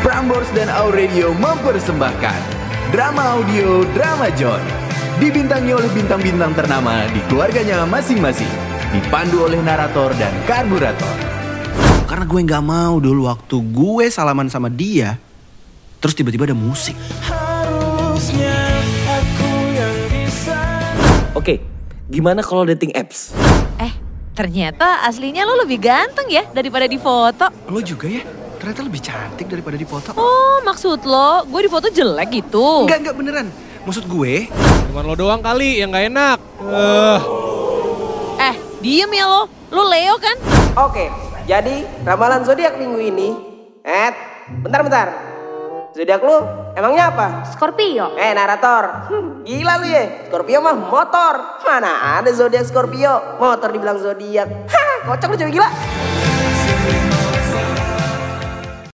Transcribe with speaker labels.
Speaker 1: Prambors dan Our Radio mempersembahkan drama audio Drama John. Dibintangi oleh bintang-bintang ternama di keluarganya masing-masing. Dipandu oleh narator dan karburator.
Speaker 2: Karena gue nggak mau dulu waktu gue salaman sama dia, terus tiba-tiba ada musik.
Speaker 3: Harusnya aku yang bisa
Speaker 4: Oke, gimana kalau dating apps?
Speaker 5: Eh, ternyata aslinya lo lebih ganteng ya daripada di foto.
Speaker 2: Lo juga ya? Ternyata lebih cantik daripada di foto.
Speaker 5: Oh, maksud lo gue di foto jelek gitu?
Speaker 2: Enggak, enggak beneran. Maksud gue,
Speaker 6: Cuman lo doang kali yang gak enak. Eh,
Speaker 5: Eh, diem ya lo. Lo Leo kan?
Speaker 7: Oke, jadi ramalan zodiak minggu ini. Eh, bentar-bentar. Zodiak lu emangnya apa?
Speaker 8: Scorpio.
Speaker 7: Eh, narator. Hmm, gila lu ya. Scorpio mah motor. Mana ada zodiak Scorpio? Motor dibilang zodiak. Hah, kocak lu cewek gila.